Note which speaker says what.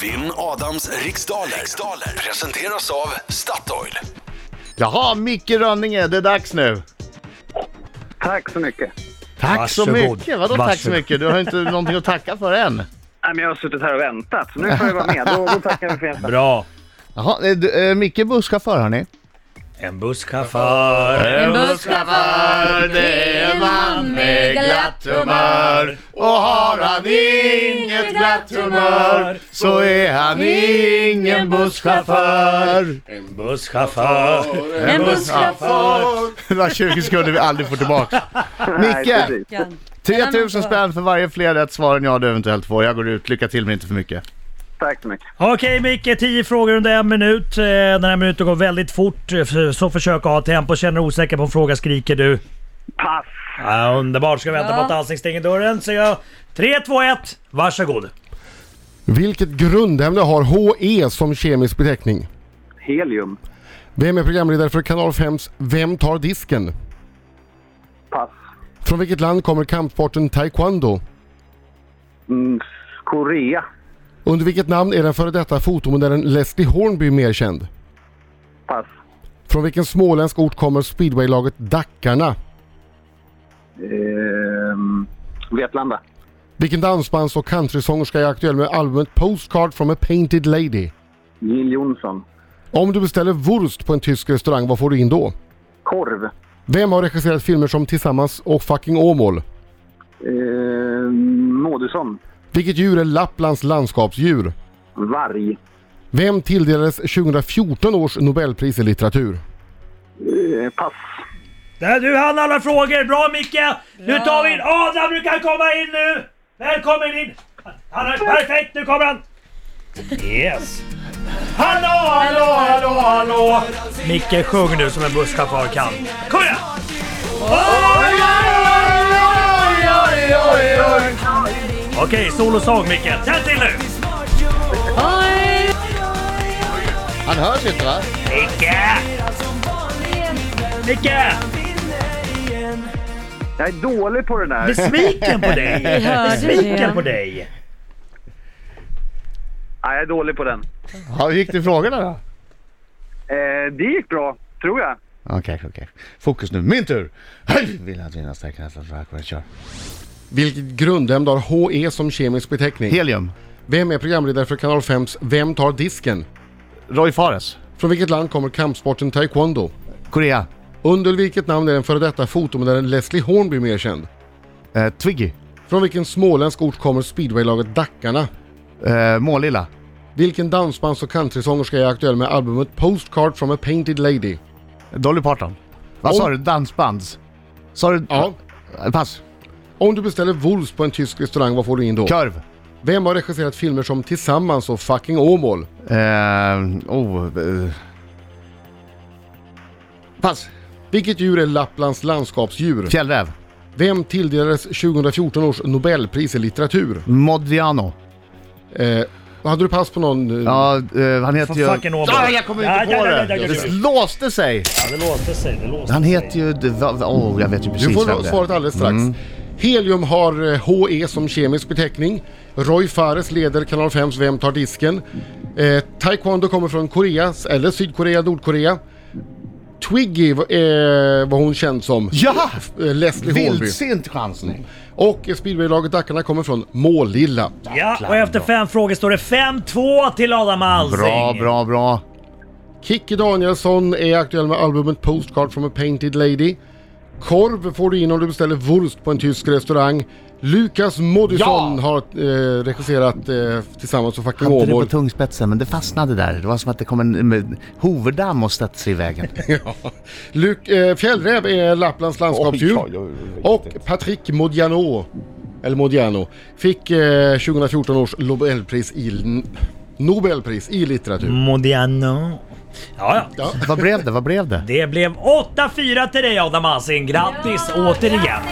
Speaker 1: Vinn Adams riksdaler. riksdaler presenteras av Statoil.
Speaker 2: Jaha, Micke Rönninge, det är dags nu.
Speaker 3: Tack så mycket.
Speaker 2: Tack så
Speaker 4: Varsågod.
Speaker 2: mycket! Vadå tack så
Speaker 4: Varsågod.
Speaker 2: mycket? Du har inte någonting att tacka för än.
Speaker 3: Nej, men jag har suttit här och väntat, så nu får jag vara med. Då, då tackar vi för hjälpen.
Speaker 4: Bra.
Speaker 2: Jaha, eh, du, eh, Micke är busschaufför hörni.
Speaker 4: En busschaufför.
Speaker 5: En busschaufför, det är en man med glatt humör.
Speaker 2: Och har han
Speaker 5: inget glatt humör,
Speaker 2: så är han
Speaker 5: ingen busschaufför.
Speaker 4: En busschaufför.
Speaker 5: En busschaufför.
Speaker 2: Det där 20 sekunder vi aldrig får tillbaka.
Speaker 3: Nej,
Speaker 2: Micke!
Speaker 3: precis.
Speaker 2: 3000 spänn för varje fler rätt svar än jag du eventuellt får. Jag går ut, lycka till men inte för mycket.
Speaker 3: Tack så mycket.
Speaker 4: Okej Micke, 10 frågor under en minut. Eh, Den här minuten går väldigt fort, eh, för- så försök ha tempo. Känner du osäker på en fråga skriker du.
Speaker 3: Pass!
Speaker 4: Ja, underbart, ska vi vänta
Speaker 5: Ja.
Speaker 4: på att Alsing stänger dörren. Så jag... 3, 2, 1, varsågod.
Speaker 6: Vilket grundämne har HE som kemisk beteckning?
Speaker 3: Helium.
Speaker 6: Vem är programledare för Kanal 5s Vem tar disken?
Speaker 3: Pass.
Speaker 6: Från vilket land kommer kampsporten taekwondo?
Speaker 3: Mm, Korea.
Speaker 6: Under vilket namn är den före detta fotomodellen Leslie Hornby mer känd?
Speaker 3: Pass.
Speaker 6: Från vilken småländsk ort kommer speedwaylaget Dackarna?
Speaker 3: Ehm, Vetlanda.
Speaker 6: Vilken dansbands och countrysångerska är aktuell med albumet Postcard from a Painted Lady?
Speaker 3: Jill Johnson.
Speaker 6: Om du beställer wurst på en tysk restaurang, vad får du in då?
Speaker 3: Korv.
Speaker 6: Vem har regisserat filmer som Tillsammans och Fucking Åmål?
Speaker 3: Ehm, Mådusson.
Speaker 6: Vilket djur är Lapplands landskapsdjur?
Speaker 3: Varg.
Speaker 6: Vem tilldelades 2014 års Nobelpris i litteratur?
Speaker 3: Ehm, pass.
Speaker 4: Där, du hann alla frågor. Bra Micke! Nu tar vi in Adam, du kan komma in nu! Välkommen in! Han är perfekt, nu kommer han! Yes! Hallå, hallå, hallå, hallå! Micke, sjung nu som en busschaufför kan. Kom igen! Okej, solosång Micke. Tänd till nu!
Speaker 5: Oj,
Speaker 2: Han hörs inte va?
Speaker 4: Micke! Micke!
Speaker 3: Jag är dålig på det där.
Speaker 4: Besviken på dig!
Speaker 5: hörde
Speaker 4: Besviken
Speaker 5: det.
Speaker 4: på dig!
Speaker 3: Eh, Nej, jag är dålig på den.
Speaker 2: Ja, hur gick det i frågorna då?
Speaker 3: Ehm, det gick bra, tror jag.
Speaker 2: Okej, okej. Fokus nu. Min tur! Hej! Vill att vinna starka nästan så här kommer jag kör.
Speaker 6: Vilket grundämne har HE som kemisk beteckning?
Speaker 2: Helium.
Speaker 6: Vem är programledare för Kanal 5s Vem tar disken?
Speaker 2: Roy Fares.
Speaker 6: Från vilket land kommer kampsporten taekwondo?
Speaker 2: Korea.
Speaker 6: Under vilket namn är den före detta fotomodellen Leslie Hornby mer känd?
Speaker 2: Eh, Twiggy.
Speaker 6: Från vilken småländsk ort kommer speedwaylaget Dackarna?
Speaker 2: Eh, Målilla.
Speaker 6: Vilken dansbands och countrysångerska är aktuell med albumet Postcard from a Painted Lady?
Speaker 2: Dolly Parton. Vad sa
Speaker 6: Om-
Speaker 2: du? Dansbands? Sa du...
Speaker 6: Oh.
Speaker 2: Eh,
Speaker 6: Ja.
Speaker 2: Pass.
Speaker 6: Om du beställer Wolves på en tysk restaurang, vad får du in då?
Speaker 2: Körv.
Speaker 6: Vem har regisserat filmer som Tillsammans och Fucking Åmål?
Speaker 2: Eh, oh, eh. Pass.
Speaker 6: Vilket djur är Lapplands landskapsdjur?
Speaker 2: Fjällräv.
Speaker 6: Vem tilldelades 2014 års Nobelpris i litteratur?
Speaker 2: Modriano.
Speaker 6: Eh, hade du pass på någon? eh,
Speaker 2: Ja, eh, han heter
Speaker 4: Från
Speaker 2: ju...
Speaker 4: fucking Åmål.
Speaker 2: Ah, jag kommer
Speaker 4: Ja,
Speaker 2: inte på
Speaker 4: ja, ja,
Speaker 2: det!
Speaker 4: ja, ja, ja,
Speaker 2: Det
Speaker 4: ja.
Speaker 2: låste sig!
Speaker 4: Ja, det låter sig. Det låter
Speaker 2: Han
Speaker 4: sig.
Speaker 2: heter ju... det var- Åh, jag Mm. vet ju precis
Speaker 6: Du
Speaker 2: vem
Speaker 6: får
Speaker 2: det är.
Speaker 6: svaret alldeles strax. Helium har eh, HE som kemisk beteckning. Roy Fares leder Kanal 5s Vem tar disken? Eh, taekwondo kommer från Korea, eller Sydkorea, Nordkorea. Twiggy eh, var hon känd som.
Speaker 2: Ja!
Speaker 6: Eh, Leslie Hornby.
Speaker 2: Vildsint chansning.
Speaker 6: Och eh, speedwaylaget Dackarna kommer från Målilla.
Speaker 4: Ja, och efter fem frågor står det 5-2 till Adam Alsing.
Speaker 2: Bra, bra, bra.
Speaker 6: Kikki Danielsson är aktuell med albumet Postcard from a Painted Lady. Korv får du in om du beställer wurst på en tysk restaurang. Lukas Moodysson
Speaker 2: Ja!
Speaker 6: har eh, regisserat eh, tillsammans med Fucking
Speaker 2: Hade det på
Speaker 6: Åmål.
Speaker 2: tungspetsen, men det fastnade där. Det var som att det kom en eh, hoverdamm och stötte sig i vägen.
Speaker 6: Luk- eh, Fjällräv är Lapplands landskapsdjur.
Speaker 2: Oj, oj, oj, oj.
Speaker 6: Och Patrick Modiano, eller Modiano, fick eh, 2014 års Nobelpris i, Nobelpris i litteratur.
Speaker 4: Modiano. Ja, ja.
Speaker 2: Vad blev det? Vad blev det?
Speaker 4: Det blev 8-4 till dig Adam Alsing. Grattis återigen!